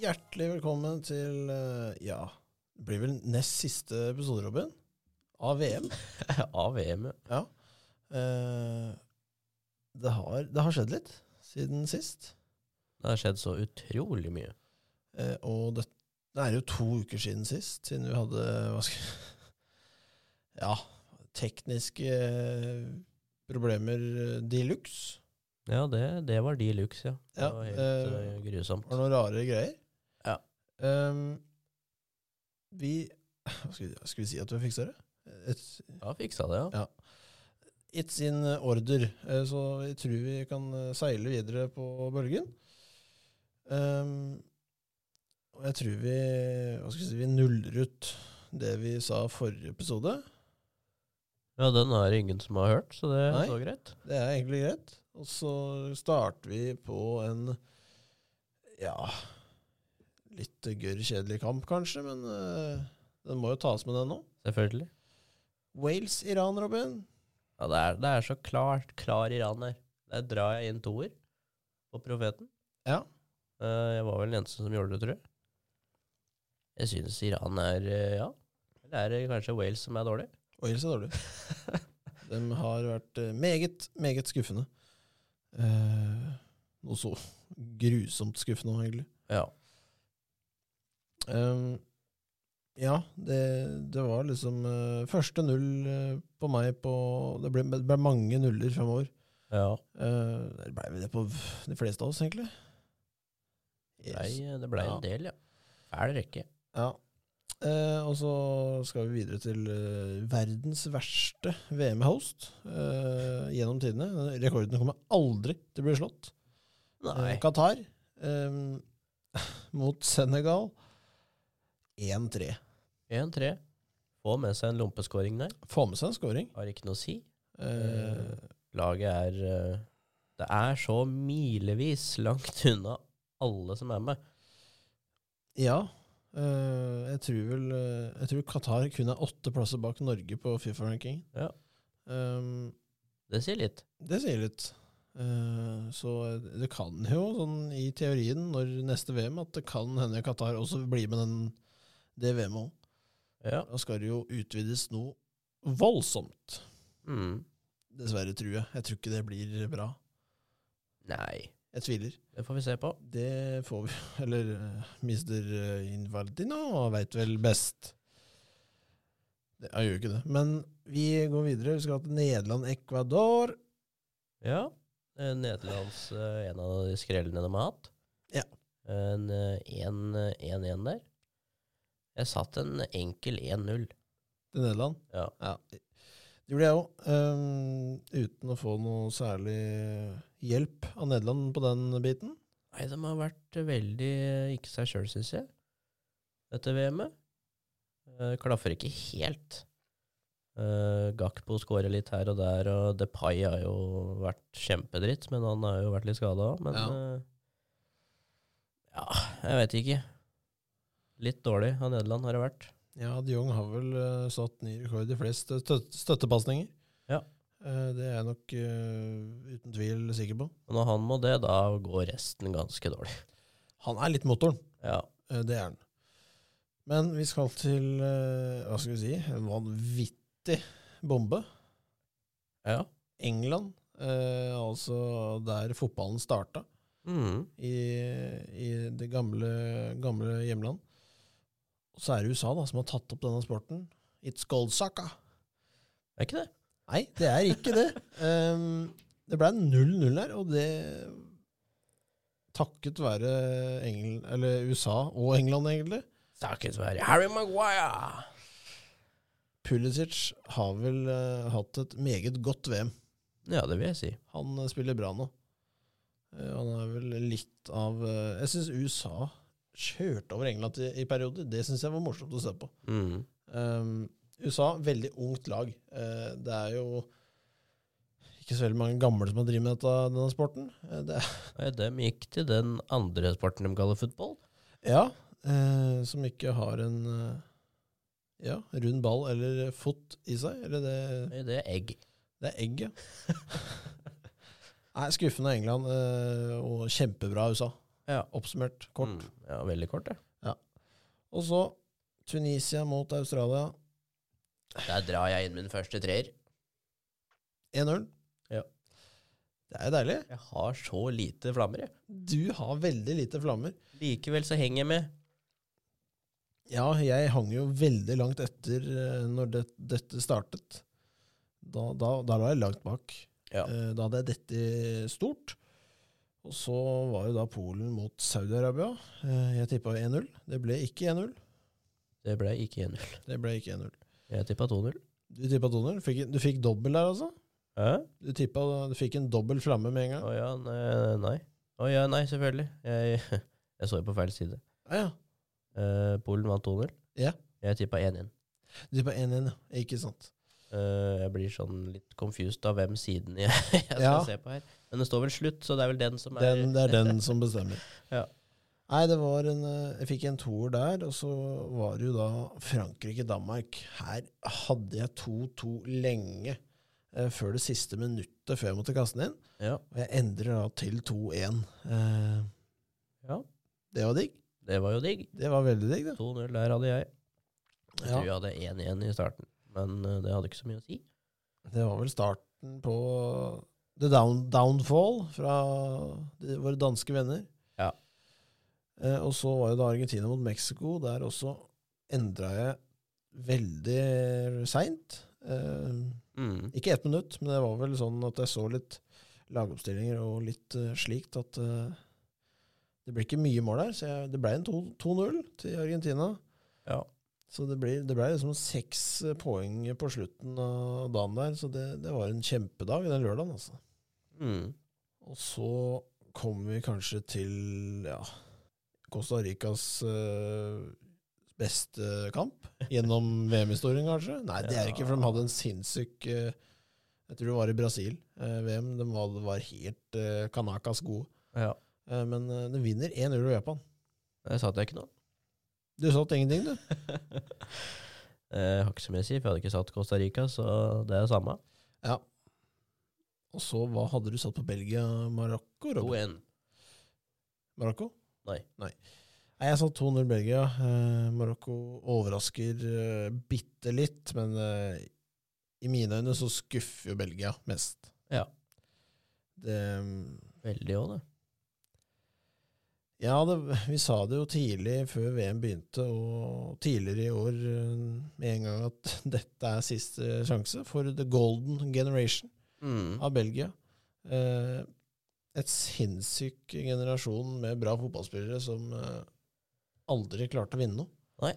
Hjertelig velkommen til eh, Ja, det blir vel nest siste episode, Robin, av VM. Av VM, ja. Ja. Eh, det, har, det har skjedd litt siden sist. Det har skjedd så utrolig mye. Eh, og det, det er jo to uker siden sist, siden vi hadde hva skal, Ja, tekniske problemer eh, de luxe. Ja, det, det var de luxe, ja. Det Ja, var helt eh, eh, grusomt. Det var noen rare greier. Ja. Ehm, vi hva skal, vi- skal vi si at vi fiksa det? Et, Ja, fiksa det, ja. it's in order, eh, så jeg tror vi kan eh, seile videre på bølgen. Ehm, og jeg tror vi hva skal vi si, vi nuller ut det vi sa forrige episode. Ja, den har ingen som har hørt, så det Nei. er så greit. Det er egentlig greit. Og så starter vi på en ja litt gørr kjedelig kamp, kanskje, men eh, den må jo tas med, den nå. Selvfølgelig. Wales-Iran, Robin. Ja, det er, det er så klart klar Iran her. Der drar jeg inn toer på Profeten. Ja. Eh, jeg var vel den eneste som gjorde det, tror jeg. Jeg syns Iran er eh, Ja. Eller er det kanskje Wales som er dårlig? Wales er dårlig. De har vært eh, meget, meget skuffende. Eh, noe så grusomt skuffende, egentlig. Ja. Ehm, ja, det, det var liksom eh, første null eh, på meg på Det ble, det ble mange nuller framover. ja. Eh, det ble vel det på v- de fleste av oss, egentlig. Yes. Nei, det blei Ja. en del, ja. Fæl rekke. Ja. Eh, og så skal vi videre til eh, verdens verste VM-host eh, gjennom tidene. Den Rekorden kommer aldri til å bli slått. Nei. Eh, Qatar eh, mot Senegal 1-3. 1-3. Få med seg en lompeskåring der. Få med seg en scoring. Har ikke noe å si. Eh, Laget er eh, Det er så milevis langt unna alle som er med. ja. Eh, jeg tror vel eh, Jeg tror Qatar kun er åtte plasser bak Norge på Fifa-ranking. Ja. Um, Det sier litt. Det sier litt. Eh, så det kan jo, sånn i teorien, når neste VM, at det kan hende Qatar også blir med den, det VM-et òg. Ja. Da skal det jo utvides noe voldsomt. Mm. Dessverre, tror jeg. Jeg tror ikke det blir bra. Nei. Jeg tviler. Det får vi se på. Det får vi Eller eh, mister eh, Invaldino veit vel best. Det, jeg gjør jo ikke det. Men vi går videre. Vi skal til Nederland-Ecuador. Ja. Eh, Nederlands eh, en av de skrellene de har hatt. Ja. En eh, 1-1 der. Jeg satt en enkel 1-0. til Nederland. Ja. Det gjorde jeg òg, uten å få noe særlig hjelp av Nederland på den biten. Nei, de har vært veldig eh, ikke seg sjøl, syns jeg, dette VM-et. Eh, Klaffer ikke helt. Eh, Gakpo skårer litt her og der, og Depay har jo vært kjempedritt, men han har jo vært litt skada òg. Men ja. Ja. ja, jeg veit ikke. Litt dårlig av Nederland har det vært. Ja, de Jong har vel eh, satt ny rekord i flest støt støttepasninger. Ja. Eh, det er jeg nok eh, uten tvil sikker på. Og når han må det, da går resten ganske dårlig. Han er litt motoren, Ja. eh, det er han. Men vi skal til, eh, hva skal vi si, en vanvittig bombe. ja. England, eh, altså der fotballen starta. Mm. i, i det gamle, gamle hjemland. Og så er det USA da, som har tatt opp denne sporten. It's gold soccer. Er ikke det? Nei, det er ikke det. Ehm, det ble 0-0 her, og det takket være Engel, eller USA og England, egentlig. Takket være Harry Maguire! Pulisic har vel eh, hatt et meget godt VM. Ja, det vil jeg si. Han eh, spiller bra nå. Eh, han er vel litt av eh, Jeg syns USA kjørte over England i, i perioder. Det syns jeg var morsomt å se på. Mm. Um, USA, veldig ungt lag. Eh, det er jo ikke så veldig mange gamle som har drevet med dette, denne sporten. Eh, det er, Nei, de gikk til den andre sporten de kaller fotball. ja, eh, som ikke har en eh, ja, rund ball eller fot i seg. Eller det, Nei, Eh, det er egg. det er egg, ja. Nei, skuffende England eh, og kjempebra USA. Ja. Oppsummert kort. Mm, ja, veldig kort, det. Og så Tunisia mot Australia. Der drar jeg inn min første treer. 1-0. Ja. Det er jo deilig. Jeg har så lite flammer, jeg. Du har veldig lite flammer. Likevel så henger jeg med. Ja, jeg hang jo veldig langt etter eh, når det, dette startet. Da, da, da lå jeg langt bak. Ja. Eh, Da hadde jeg dette stort. Og så var jo da Polen mot Saudi-Arabia. Eh, Jeg tippa 1-0. Det ble ikke 1-0. Det ble ikke 1-0. Det ble ikke 1-0. Jeg tippa 2-0. Du tippa 2-0. Fikk- Du fikk dobbel der, altså? Hæ? Du, tippa, du fikk en dobbel flamme med en gang? Å ja, nei. nei. Å ja, nei, selvfølgelig. Jeg, jeg så jo på feil side. Ja, ja. Eh, Polen vant 2-0. Ja. Jeg tippa 1-1. Du tippa 1-1, ja. Ikke sant. Eh, jeg blir sånn litt confused av hvem siden jeg, jeg skal Ja. se på her. Men det står vel slutt, så det er vel den som er Den, det er den som bestemmer. Ja. Nei, det var en eh, Jeg fikk en toer der, og så var det jo da Frankrike-Danmark. Her hadde jeg 2-2 lenge eh, før det siste minuttet før jeg måtte kaste den inn. Ja. Og jeg endrer da til 2-1. Eh, Ja. Det var digg. Det var jo digg. Det var veldig digg, det. 2-0 der hadde jeg. Jeg Ja. tror jeg hadde 1-1 i starten, men eh, det hadde ikke så mye å si. Det var vel starten på The down, Downfall fra de, våre danske venner. Ja. Eh, og så var jo da Argentina mot Mexico. Der også endra jeg veldig seint. Eh, Mm. ikke ett minutt, men det var vel sånn at jeg så litt lagoppstillinger og litt eh, slikt at eh, det ble ikke mye mål der. Så jeg, det ble en to- 2-0 til Argentina. Ja. Så det ble, det ble liksom seks eh, poeng på slutten av dagen der, så det, det var en kjempedag den lørdagen, altså. Mm. Og så kom vi kanskje til ja, Costa Ricas eh, beste kamp gjennom VM-historien, kanskje? Nei, det er det ikke, for de hadde en sinnssyk eh, Jeg tror det var i Brasil, eh, VM. De var, var helt eh, kanakas gode. ja. Eh, men eh, de vinner 1-0 over Japan. Der satt jeg ikke noe. Du satt ingenting, du? Eh, Jeg har ikke så mye å si, for jeg hadde ikke satt Costa Rica, så det er samme. Ja. Og så, hva hadde du satt på Belgia-Marokko, Robin? 2-1. Marokko? Nei. Nei. Nei, Jeg sa 2-0 Belgia. Eh, Marokko overrasker eh, bitte litt, men eh, i mine øyne så skuffer jo Belgia mest. Ja. Det, Veldig òg, det. ja, det, vi sa det jo tidlig før VM begynte, og tidligere i år eh, med en gang at dette er siste sjanse for the golden generation. Mm. av Belgia. Eh, et sinnssyk generasjon med bra fotballspillere som eh, aldri klarte å vinne noe.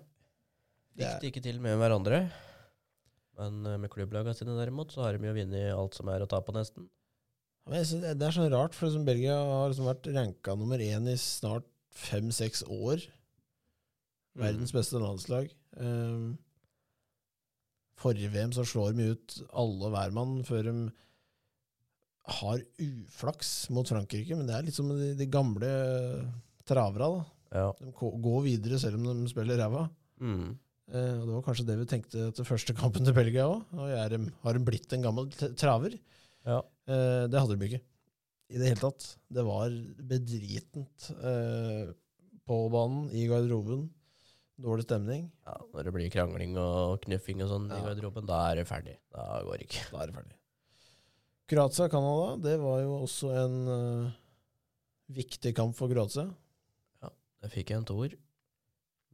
Fikk det ikke til med hverandre. Men eh, med klubblaga sine derimot, så har de jo vunnet alt som er å ta på, nesten. Men jeg synes det- det er så rart, for liksom Belgia har liksom vært ranka nummer én i snart fem-seks år. Mhm. Mm. Verdens beste landslag. Eh, forrige VM så slår de ut alle og hvermann før de har uflaks mot Frankrike, men det er litt som de, de gamle travera, da. Ja. De ko- går videre selv om de spiller ræva. Mm. Eh, og Det var kanskje det vi tenkte etter første kampen til Belgia òg. Har de blitt en gammel t- traver? Ja. Eh, Det hadde de ikke i det hele tatt. Det var bedritent eh, på banen, i garderoben. Dårlig stemning. ja. Når det blir krangling og knuffing og sånn i Ja. garderoben, da er det ferdig. Da går det ikke. Da er det ferdig. Kroatia-Canada, det var jo også en eh, viktig kamp for Kroatia. Da fikk jeg en toer.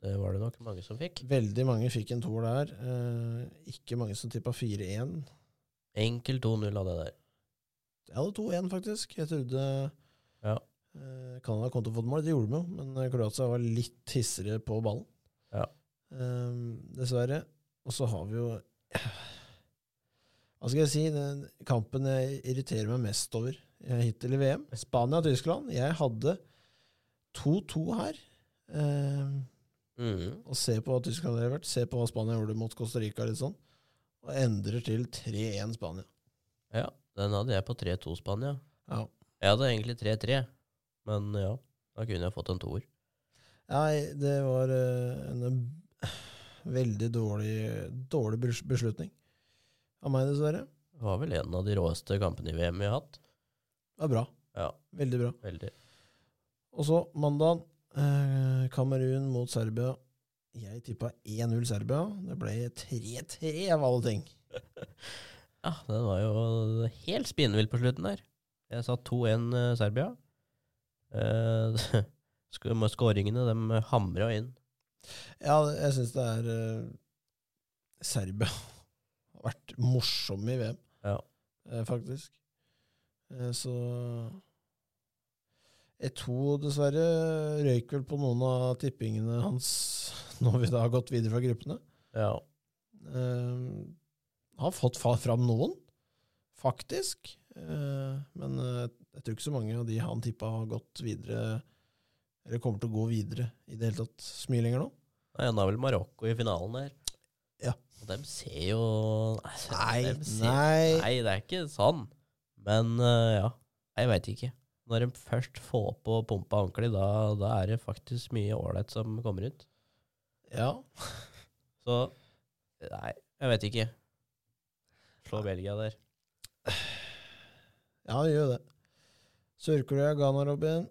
Det var det nok mange som fikk. Veldig mange fikk en toer der. Eh, ikke mange som tippa 4-1. Enkel 2-0 av det der. Jeg hadde 2-1, faktisk. Jeg trodde Ja. eh, Canada kom til å få et mål. Det gjorde de jo, men eh, Kroatia var litt hissigere på ballen. Ja. Eh, dessverre. Og så har vi jo Hva skal jeg si? Den kampen jeg irriterer meg mest over eh, hittil i VM, Spania-Tyskland. Jeg hadde 2-2 her. Eh, Mm. og se på hva Tyskland har levert, se på hva Spania gjorde mot Costa Rica, litt sånn, og endrer til 3-1 Spania. Ja. Den hadde jeg på 3-2 Spania. Ja. Jeg hadde egentlig 3-3, men ja. Da kunne jeg fått en toer. Nei, det var eh, en eh, veldig dårlig, dårlig bes- beslutning av meg, dessverre. Det var vel en av de råeste kampene i VM vi har hatt. Det var bra. Ja, Veldig bra. veldig. Og så mandag eh, Kamerun mot Serbia. Jeg tippa 1-0 Serbia. Det ble 3-3 av alle ting. Ja, den var jo helt spinnvill på slutten der. Jeg sa 2-1 eh, Serbia. Eh, sk- med skåringene, de hamra inn. Ja, jeg syns det er eh, Serbia har vært morsomme i VM, Ja. eh, faktisk. Eh, så E2, dessverre, røyk vel på noen av tippingene hans når vi da har gått videre fra gruppene. ja. Eh, har fått fa- fram noen, faktisk. Eh, men eh, jeg tror ikke så mange av de han tippa har gått videre, eller kommer til å gå videre i det hele tatt, så mye lenger nå. Nei, han har vel Marokko i finalen der. Ja. Og dem ser jo Nei, Nei, dem ser- nei. Nei, det er ikke sånn. Men eh, ja, jeg veit ikke. Når de først får på pumpa ordentlig, da, da er det faktisk mye ålreit som kommer ut. Ja. Så nei, jeg veit ikke. Slå Belgia der. ja, det gjør det. Sør-Korea, Ghana, Robin.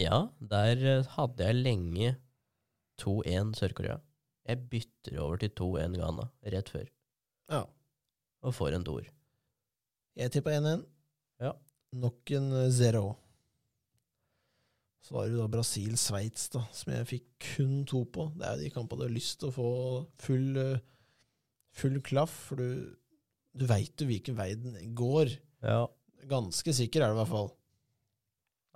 Ja, der eh, hadde jeg lenge 2-1 Sør-Korea. Jeg bytter over til 2-1 Ghana rett før, Ja. og får en toer. Jeg tippa 1-1. Ja. Nok en eh, zero. Så var det jo da Brasil-Sveits, da, som jeg fikk kun to på. Det er jo de kampene du har lyst til å få full, eh, full klaff, for du, du veit jo hvilken vei den går. Ja. Ganske sikker er du i hvert fall.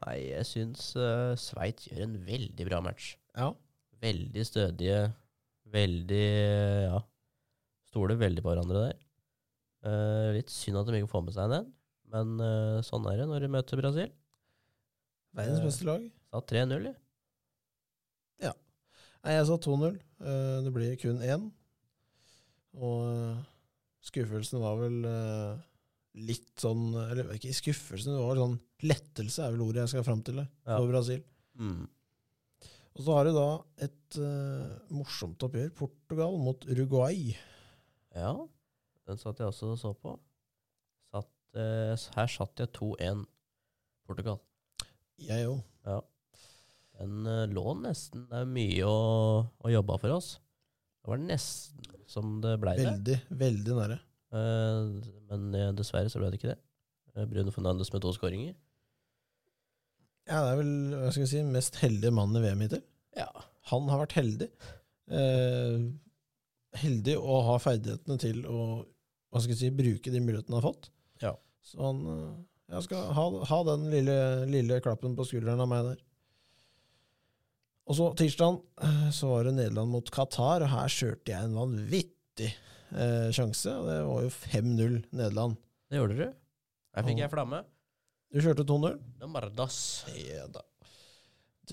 Nei, jeg syns uh, Sveits gjør en veldig bra match. Ja. Veldig stødige, veldig Ja. Stoler veldig på hverandre der. Eh, litt synd at de ikke får med seg den, men eh, sånn er det når du møter Brasil. Verdens Eh. beste lag. Sa 3-0, jeg. Nei, jeg sa 2-0. Eh, Det blir kun én. Og eh, skuffelsen var vel eh, litt sånn Eller ikke skuffelsen, det var sånn lettelse er vel ordet jeg skal fram til her, Ja. for Brasil. Mm. Og så har du da et eh, morsomt oppgjør. Portugal mot Uruguay. Ja, den satt jeg også og så på. Satt, eh, s- her satt jeg 2-1 Portugal. Jeg òg. Den eh, lå nesten Det er mye å, å jobbe for oss. Det var nesten som det blei det. Veldig, veldig nære. Eh, men eh, dessverre så ble det ikke det. Eh, Bruno Fernandes med to skåringer. Ja, det er vel hva skal jeg si, mest heldige mannen i VM hittil. Ja. Han har vært heldig. Eh, heldig å ha ferdighetene til å hva skal jeg si, bruke de mulighetene han har fått. Ja. Så han eh, jeg skal ha, ha den lille, lille klappen på skulderen av meg der. Og så tirsdag så var det Nederland mot Qatar, og her kjørte jeg en vanvittig eh, sjanse. og Det var jo 5-0 Nederland. Det gjorde du. Her fikk Ja. jeg flamme. Du kjørte 2-0. Det er Mardas. Ja da.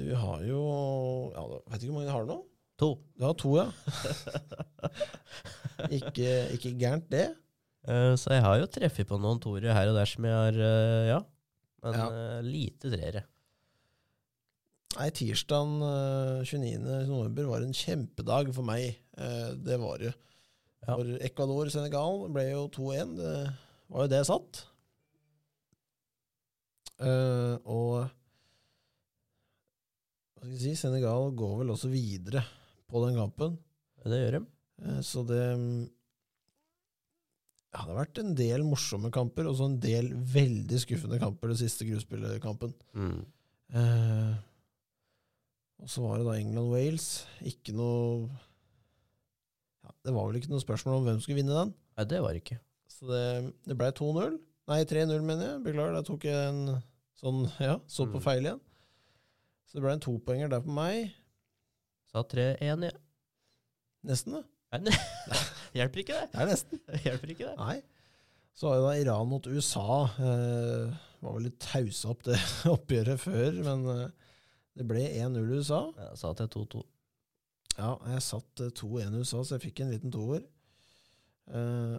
Du har jo ja, Vet ikke hvor mange du har nå? To. Du har to, ja. Ikke, ikke gærent, det. Eh, så jeg har jo treffet på noen toere her og der som jeg har eh, Ja. Men Ja. eh, lite treere. Nei, tirsdagen eh, 29. november var en kjempedag for meg. Eh, Det var det. Ja. For Ecuador-Senegal ble jo 2-1. Det var jo det jeg satt. Eh, og hva skal jeg si, Senegal går vel også videre på den kampen. Det gjør de. Eh, Så det ja, det har vært en del morsomme kamper, og så en del veldig skuffende kamper det siste gruppespillkampen. Mm. Eh, og så var det da England-Wales. Ikke noe ja, Det var vel ikke noe spørsmål om hvem som skulle vinne den. Nei, det var det ikke. Så det, det ble 2-0. Nei, 3-0, mener jeg. Beklager, der tok jeg en sånn Ja, så på Mm. feil igjen. Så det ble en topoenger der på meg. Sa 3-1, ja. Nesten, det. Hjelper ikke det? Det er nesten. Hjelper ikke det? Nei. Så var jo da Iran mot USA. Eh, var vel litt tausa opp det oppgjøret før, men eh, det ble 1-0 USA. Jeg sa til 2-2. Ja, jeg satt eh, 2-1 USA, så jeg fikk en liten toer. Eh,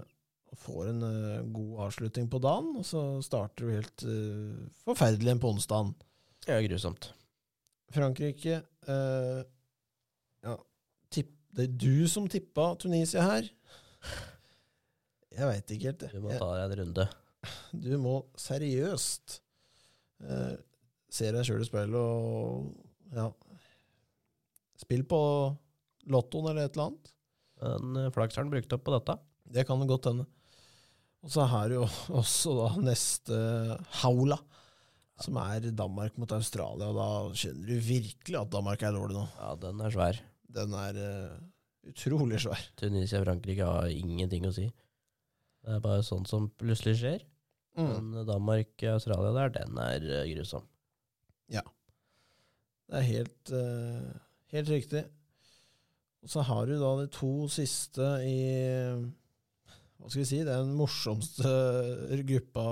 og får en eh, god avslutning på dagen, og så starter det jo helt eh, forferdelig igjen på onsdagen. Det er grusomt. Frankrike eh, ja, tipp, Det er du som tippa Tunisia her. Jeg veit ikke helt. Du må Jeg- ta deg en runde. Du må seriøst eh, ser deg sjøl i speilet og ja, spill på lottoen eller et eller annet. Den eh, flakseren brukte opp på dette. Det kan godt hende. Og så er det jo også da neste haula, som er Danmark mot Australia. Og da skjønner du virkelig at Danmark er dårlig nå. Ja, den er svær. Den er eh, utrolig svær. Tunisia og Frankrike har ingenting å si. Det er bare sånt som plutselig skjer. Men Danmark-Australia der, den er eh, grusom. Det er helt, eh, helt riktig. Og så har du da de to siste i Hva skal vi si? Det er den morsomste gruppa,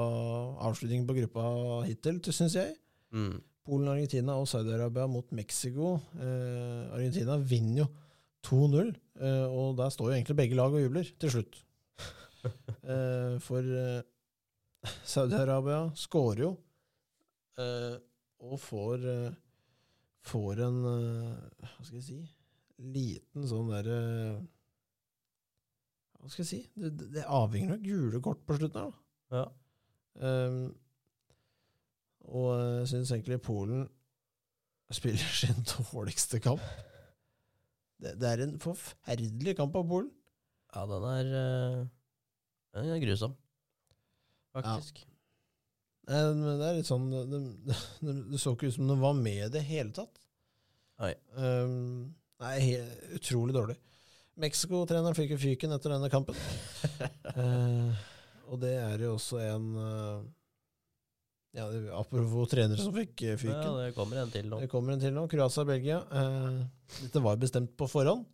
avslutningen på gruppa hittil, syns jeg. Mm. Polen, Argentina og Saudi-Arabia mot Mexico. Eh, Argentina vinner jo 2-0, eh, og der står jo egentlig begge lag og jubler til slutt. Eh, for eh, Saudi-Arabia skårer jo eh, og får, eh, får en eh, Hva skal jeg si Liten sånn derre Hva skal jeg si? Det, det- det avhenger av gule kort på slutten her, da. Ja. Um, og eh, jeg syns egentlig Polen spiller sin dårligste kamp. Det, det er en forferdelig kamp av Polen. ja, den er eh, Den er grusom, faktisk. Eh, Men det er litt sånn Det de, de, det så ikke ut som de var med i det hele tatt. Nei. Um, nei, he, utrolig dårlig. Mexico-treneren fikk jo fyken etter denne kampen. Eh, og det er jo også en eh, Ja, det- apropos trenere som fikk eh, Ja, fyken. det kommer en til nå. Det kommer en til nå. Kroatia og Belgia. Eh, dette var bestemt på forhånd,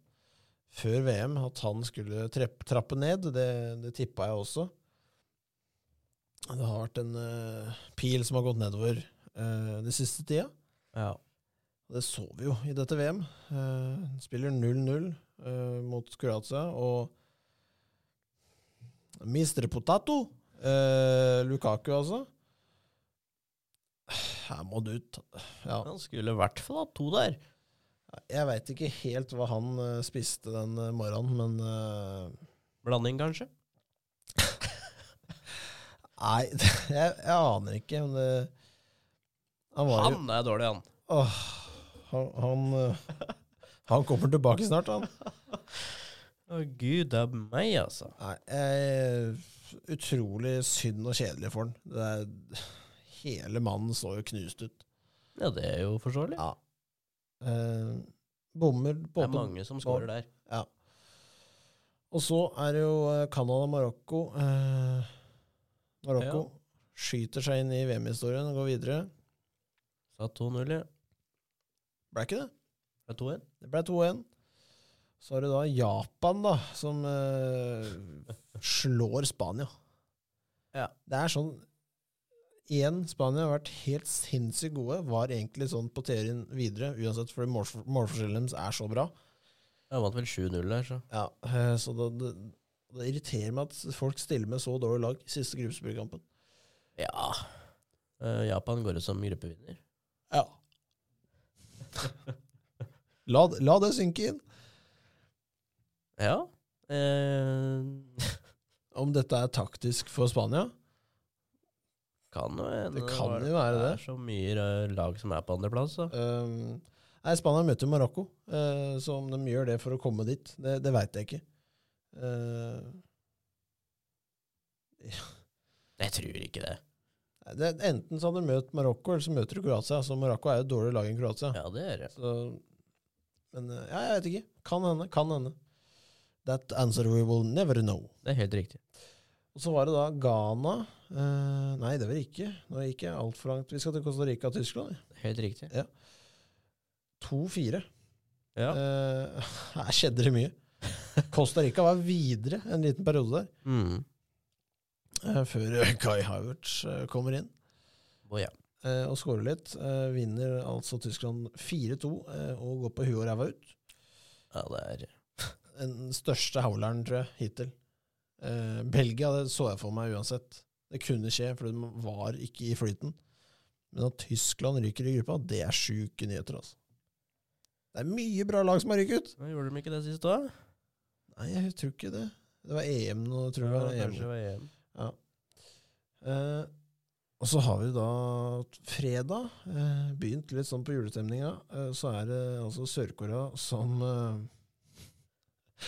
før VM, at han skulle trepp, trappe ned. Det, det tippa jeg også. Det har vært en eh, pil som har gått nedover eh, den siste tida. Ja. Det så vi jo i dette VM. Eh, spiller 0-0 eh, mot Kroatia, og Mister Potato, eh, Lukaku altså Her må du ta Ja. Han skulle i hvert fall hatt to der. Jeg veit ikke helt hva han eh, spiste den eh, morgenen, men eh, Blanding, kanskje. Nei, jeg, jeg aner ikke. Men det, han var jo Han er dårlig, han. Åh, han, han, eh, han kommer tilbake snart, han. Å, gud det er meg, altså. Nei, jeg, utrolig synd og kjedelig for han. Det er, hele mannen så jo knust ut. Ja, det er jo forståelig. Ja. Eh, bommer Det på er mange som scorer der. Ja. Og så er det jo eh, Canada og Marokko. Eh, Marokko skyter seg inn i VM-historien og går videre. Så 2-0, ja. Ble ikke det? Det er 2-1. Det ble 2-1. Så har du da Japan, da, som eh, slår Spania. Ja. Det er sånn Igjen, Spania har vært helt sinnssykt gode. Var egentlig sånn på teorien videre, uansett, fordi målfor- målforskjellen deres er så bra. Jeg vant vel 7-0 der, så. Ja, eh, så det, det, det irriterer meg at folk stiller med så dårlig lag i siste gruppespillkampen. Ja. Eh, Japan går ut som gruppevinner. Ja. la, la det synke inn. Ja. Eh, Om dette er taktisk for Spania? kan jo hende. Det kan var- jo være Det det. er så mye eh, lag som er på andreplass, så. Um, nei, Spania møter Marokko, eh, så om de gjør det for å komme dit, det, det veit jeg ikke. Eh, Jeg tror ikke det. det, enten så hadde de møtt Marokko, eller så møter du Kroatia. Så Marokko er jo et dårlig lag enn Kroatia. Ja, det er det. Så, men eh, ja, jeg vet ikke. Kan hende. Kan hende. That answer we will never know. Det er helt riktig. Og så var det da Ghana eh, Nei, det var det ikke. Nå gikk jeg altfor langt. Vi skal til Costa Rica og Tyskland. Det er Helt riktig. 2-4. Ja. Eh, her skjedde det mye. Costa Rica var videre en liten periode der, Mm. eh, før eh, Kai Havertz eh, kommer inn Å, ja. eh, og scorer litt. Eh, vinner altså Tyskland 4-2 eh, og går på huet og ræva ut. ja, det er Den største howleren, tror jeg, hittil. Eh, Belgia det så jeg for meg uansett. Det kunne skje, for de var ikke i flyten. Men at Tyskland ryker i gruppa, det er sjuke nyheter, altså. Det er mye bra lag som har ryket ut! Nå Gjorde de ikke det sist òg? Nei, jeg tror ikke det. Det var EM nå, tror jeg. det var EM. Kanskje det var EM. Eh, Og så har vi da fredag, eh, begynt litt sånn på julestemninga. Eh, så er det altså Sør-Korea som eh,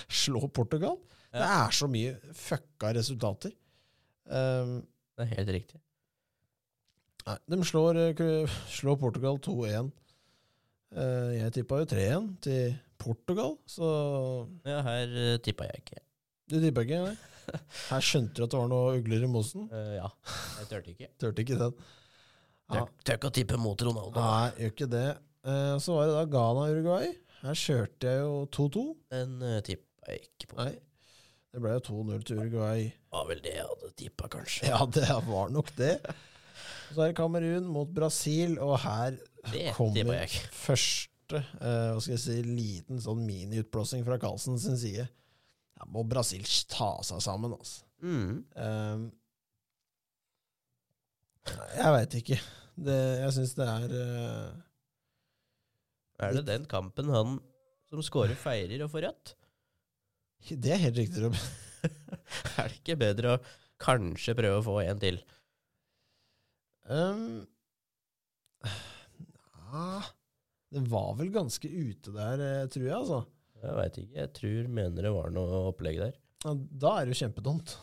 slår Portugal. Ja. Det er så mye fucka resultater. Eh, Det er helt riktig. Nei, de slår, eh, Kro- slår Portugal 2-1. Eh, Jeg tippa jo 3-1 til Portugal, så Ja, her eh, tippa jeg ikke. du tippa ikke? Nei. Her skjønte du at det var noe ugler i mosen. Eh, ja, jeg turte ikke. Turte ikke den. Ja. Ah. Tør, tør ikke å tippe mot Ronaldo. Nei, gjør ikke det. Eh, Så var det da Ghana-Uruguay. Her kjørte jeg jo 2-2. Den uh, tippa jeg ikke på. Nei, det ble jo 2-0 til Uruguay. Var vel det jeg hadde tippa, kanskje. Ja, det var nok det. Så er det Kamerun mot Brasil, og her det kommer tippa jeg ikke. første eh, hva skal jeg si, liten sånn miniutblåsing fra Carlsen sin side. Her må Brasil ta seg sammen, altså. Mm. Ehm, jeg veit ikke. Det, jeg syns det er eh, Er det den kampen han som scorer, feirer og får rødt? eh, Det er helt riktig, Robin. Er det ikke bedre å kanskje prøve å få en til? Ehm, nja, det var vel ganske ute der, eh, tror jeg, altså. Jeg veit ikke. Jeg tror mener det var noe opplegg der. Ja, Da er det jo kjempedumt.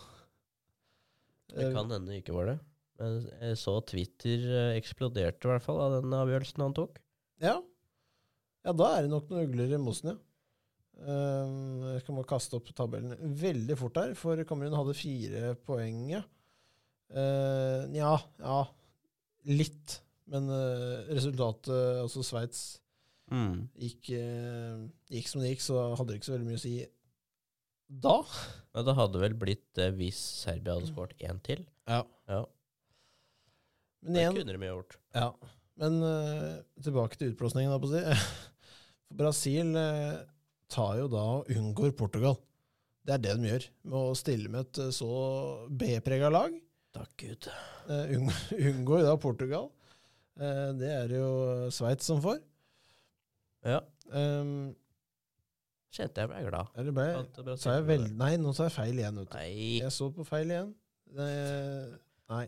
Det Eh, kan hende det ikke var det. Men jeg så Twitter eh, eksploderte i hvert fall av den avgjørelsen han tok. Eh, Ja. ja, da er det nok noen ugler i mosen, ja. Ehm, Jeg skal bare kaste opp tabellen veldig fort her, for Kamerun hadde fire poeng. Ja, Eh, ja, ja litt. Men eh, resultatet, altså Sveits, gikk, eh, gikk som det gikk, så hadde det ikke så veldig mye å si da. Ja, det hadde vel blitt det hvis Serbia hadde skåret én til. Ja. Ja. Men Det igjen, kunne de jo gjort. Ja, men eh, tilbake til utblåsningen, da, på å si. For Brasil eh, tar jo da og unngår Portugal. Det er det de gjør, med å stille med et eh, så B-prega lag. Takk Gud. Eh, unng- unngår da Portugal. Eh, det er det jo Sveits som får. Ja, Um, kjente jeg ble glad. eller ble At Brasil sa Eh, jeg ble vel, det. Nei, nå sa jeg feil igjen. Vet du. Nei. Jeg så på feil igjen. Det, nei.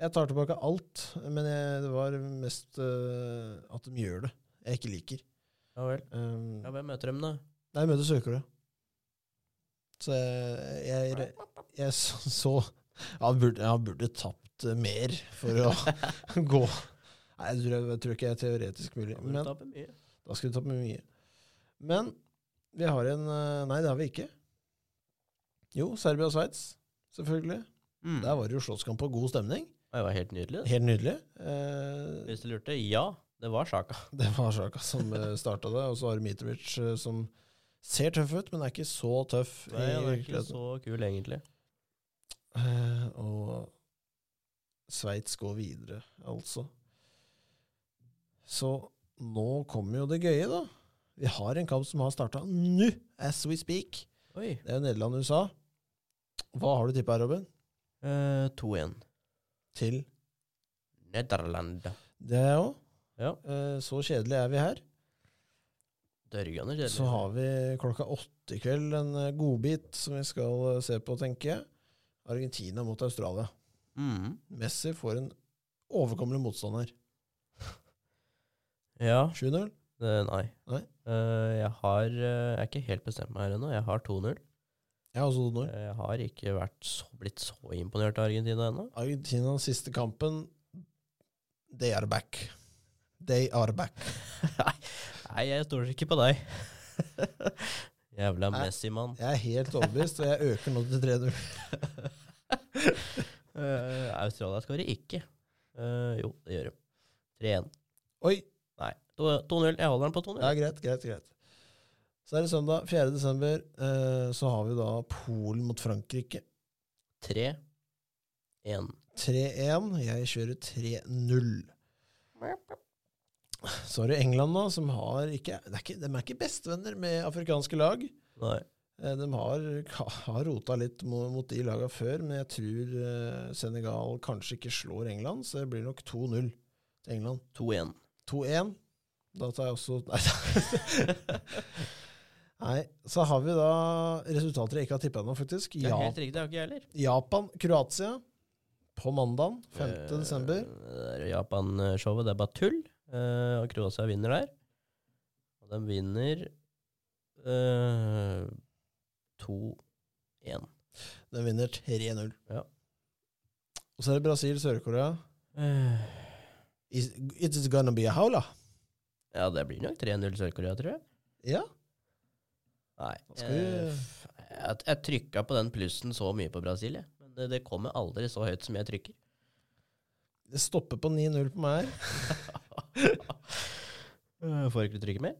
Jeg tar tilbake alt, men jeg, det var mest eh, at de gjør det jeg ikke liker. Ja vel. Um, Ja, hvem møter dem, da? Nei, møtet søker det. Så jeg, jeg, jeg så, så han, burde, han burde tapt eh, mer for å gå. Nei, jeg tror, jeg tror ikke det er teoretisk mulig. Ja, men Men de taper mye. da skulle vi tapt mye. Men vi har en eh, Nei, det har vi ikke. Jo, Serbia og Sveits, selvfølgelig. Mm. Der var det jo slåsskamp og god stemning. Det var helt nydelig. det. Helt nydelig. Eh, Hvis du lurte, ja, det var saka. Det var Sjaka som starta det, og så har du Mitrovic eh, som ser tøff ut, men er ikke så tøff Nei, i han er ikke virkeligheten. så kul, egentlig. Eh, og Sveits går videre, altså. Så nå kommer jo det gøye, da. Vi har en kamp som har starta nå, as we speak. Oi. Det er jo Nederland-USA. Hva har du tippa, Robin? Eh, 2-1. Til Nederland. det òg. Ja. Eh, så kjedelig er vi her. Dørgende kjedelig. Så har vi klokka åtte i kveld en eh, godbit som vi skal eh, se på, tenker jeg. Argentina mot Australia. Mm. Messi får en overkommelig motstander. Ja. 7-0. Eh, nei. Nei. Eh, jeg har eh, Jeg er ikke helt bestemt meg her ennå. Jeg har 2-0. Ja, også Eh, 2-0. Jeg har ikke vært så, blitt så imponert av Argentina ennå. Argentinas siste kampen They are back. They are back. Nei, jeg stoler ikke på deg. Jævla Nei. Messi-mann. Jeg er helt overbevist, og jeg øker nå til 3-0. Eh, Australia skårer ikke. Eh, jo, det gjør de. 3-1. Oi! Nei, to- 2-0. Jeg holder den på 2-0. Ja, greit, greit, greit. Så er det søndag 4. desember. eh, Så har vi da Polen mot Frankrike. 3-1. 3-1. Jeg kjører 3-0. Så har du England, da, som har ikke, det er ikke De er ikke bestevenner med afrikanske lag. Nei. Eh, De har, har rota litt mo- mot de laga før, men jeg tror eh, Senegal kanskje ikke slår England, så det blir nok 2-0 til England. 2-1. 2-1. Da tar jeg også Nei. Nei. Så har vi da resultater jeg ikke har tippa ennå, faktisk. Det er Ja, helt riktig, det har ikke jeg heller. Japan, Kroatia. på mandagen 5. Eh, desember. det der Japan-showet, det er bare tull. Eh, og Kroatia vinner der. Og de vinner eh, 2-1. Den vinner 3-0. Ja. Og så er det Brasil, Sør-Korea. Eh, Is- It's gonna be a howla. ja, det blir nok 3-0 Sør-Korea, tror jeg. Ja. Nei. Skal vi- eh, f- jeg jeg trykka på den plussen så mye på Brasil, jeg. Men det, det kommer aldri så høyt som jeg trykker. Det stopper på 9-0 på meg. Eh, Får ikke du trykke mer?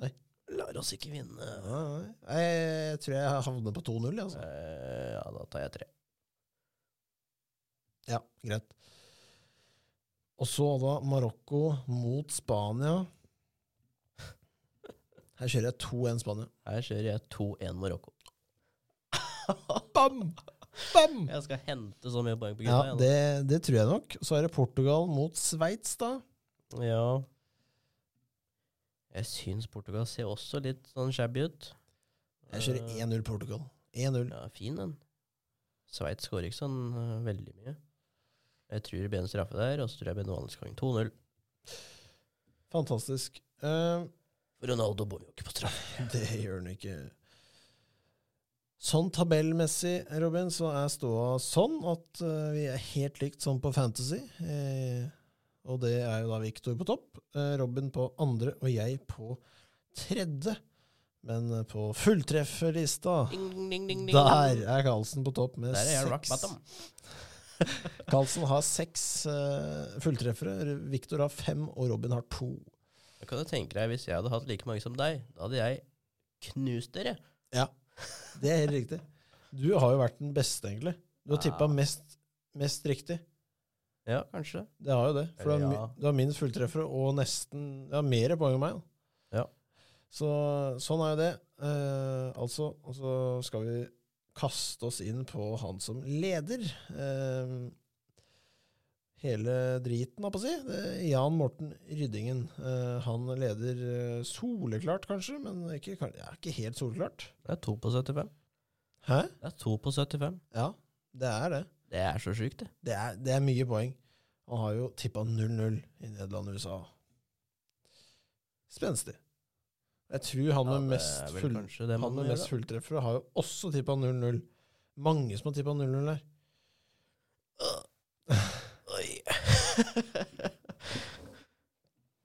Nei. Lar oss ikke vinne. Nei, nei. Jeg tror jeg havner på 2-0. jeg, Altså. Eh, ja, da tar jeg tre. Ja, greit. Og så da Marokko mot Spania. Her kjører jeg 2-1 Spania. Her kjører jeg 2-1 Marokko. Bam! Bam! Jeg skal hente så mye poeng på Ja, gutta. jeg, det, altså. det tror jeg nok. Så er det Portugal mot Sveits, da. da. ja. Jeg syns Portugal ser også litt sånn shabby ut. Jeg kjører Eh, 1-0 Portugal. 1-0. Ja, fin den. Sveits skårer ikke sånn eh, veldig mye. Jeg tror det blir en straffe der, og så tror jeg det blir en vanlig skåring. 2-0. Fantastisk. Eh, Ronaldo bor jo ikke på straffe. det gjør han ikke. Sånn tabellmessig, Robin, så er ståa sånn at eh, vi er helt likt sånn på Fantasy. Eh, og det er jo da Victor på topp, eh, Robin på andre og jeg på tredje. Men eh, på fulltrefferlista Ding, ding, ding, ding, Ah, Der er Carlsen på topp med Der er jeg rock seks. bottom. Carlsen har seks eh, fulltreffere. Viktor har fem, og Robin har to. Da kan du tenke deg, Hvis jeg hadde hatt like mange som deg, da hadde jeg knust dere. Det er helt riktig. Du har jo vært den beste, egentlig. Du har Ja. tippa mest, mest riktig. Ja, kanskje. Det har jo det. For du har, mi- Ja. du har minst fulltreffere og nesten ja, mer poeng enn meg. da. Ja. Så sånn er jo det. Eh, altså, og så skal vi kaste oss inn på han som leder. Eh, hele driten, holdt på å si. Det er Jan Morten Ryddingen. Eh, han leder eh, soleklart, kanskje, men ikke, kan- ja, ikke helt soleklart. Det er to på 75. Hæ? Det er to på 75. Ja, det er det. Det er så sjukt, det. Det er, det er mye poeng. Han har jo tippa 0-0 i Nederland og USA. Spenstig. Jeg tror han med mest, det er vel full, kanskje det man han må med gjøre, mest da. fulltreffere har jo også tippa 0-0. Mange som har tippa 0-0 der. Oi.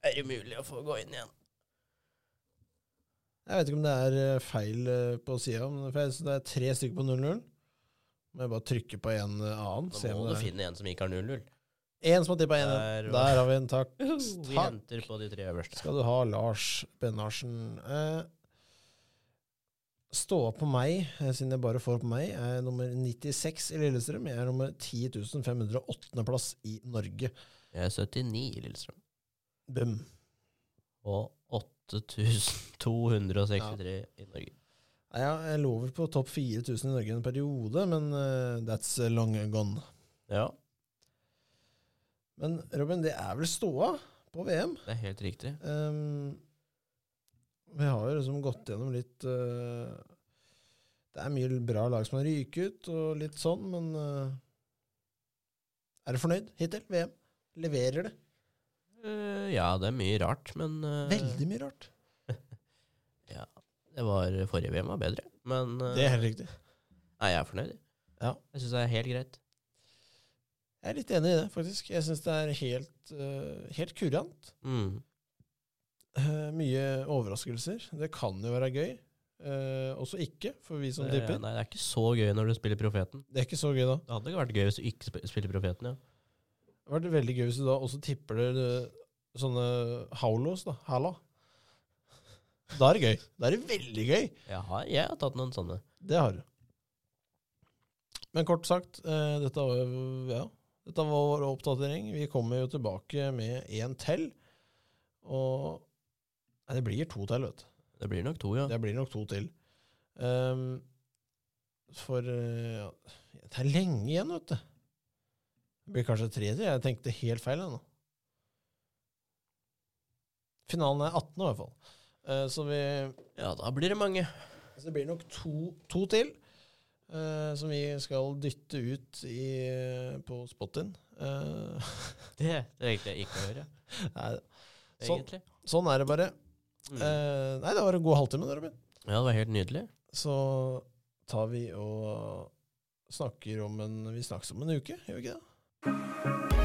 er det mulig å få gå inn igjen? Jeg vet ikke om det er eh, feil eh, på sida, men for jeg synes det er tre stykker på 0-0. Må jeg bare trykke på en eh, annen. Nå Se om må du det er finne en som ikke har 0-0. én som har tippa 1 Der, Der var- Der har vi en, takk. Vi Takk. henter på de tre øverste. skal du ha, Lars Bennarsen. Eh, Ståa på meg, eh, siden jeg bare får på meg, er nummer 96 i Lillestrøm. Jeg er nummer 10.508. plass i Norge. Jeg er 79 i Lillestrøm. Bum. Og 8263 i Norge. Nei, Ja, jeg lå vel på topp 4000 i Norge en periode, men eh, that's long gone. Ja, Men Robin, det er vel ståa på VM? det er helt riktig. Ehm, vi har jo liksom gått gjennom litt eh, Det er mye bra lag som har ryket ut, og litt sånn, men eh, Er du fornøyd hittil? VM? Leverer det? Eh, ja, det er mye rart, men eh, Veldig mye rart. Det var forrige VM var bedre, men eh, Det er helt riktig. nei, jeg er fornøyd. Ja. Jeg syns det er helt greit. Jeg er litt enig i det, faktisk. Jeg syns det er helt, eh, helt kurant. Mm. Eh, mye overraskelser. Det kan jo være gøy. Eh, også ikke, for vi som Det- tipper. Eh, Nei, det er ikke så gøy når du spiller Profeten. Det er ikke så gøy, da. Det hadde ikke vært gøy hvis du ikke sp- spiller Profeten, ja. Det hadde vært veldig gøy hvis du da også tipper det eh, sånne haulos, da. Halla. Da er det gøy. Da er det veldig gøy. Jeg har, jeg har tatt noen sånne. Det har du. Men kort sagt, eh, dette var, jo- ja, dette var vår oppdatering. Vi kommer jo tilbake med én til. Og Nei, det blir to til, vet du. Det blir nok to, ja. Det blir nok to til. Ehm, for eh, ja, det er lenge igjen, vet du. Det blir kanskje tre til. Jeg tenkte helt feil ennå. Finalen er 18. i hvert fall. Eh, så vi Ja, da blir det mange. så det blir nok to, to til. eh, som vi skal dytte ut i, på spot-in. Eh, Det trengte jeg ikke å gjøre, nei, Sånn. egentlig. sånn er det bare. Mm. Eh, nei, det var en god halvtime, det, Robin. Ja, det var helt nydelig. så tar vi og snakker om en Vi snakkes om en uke, gjør vi ikke det?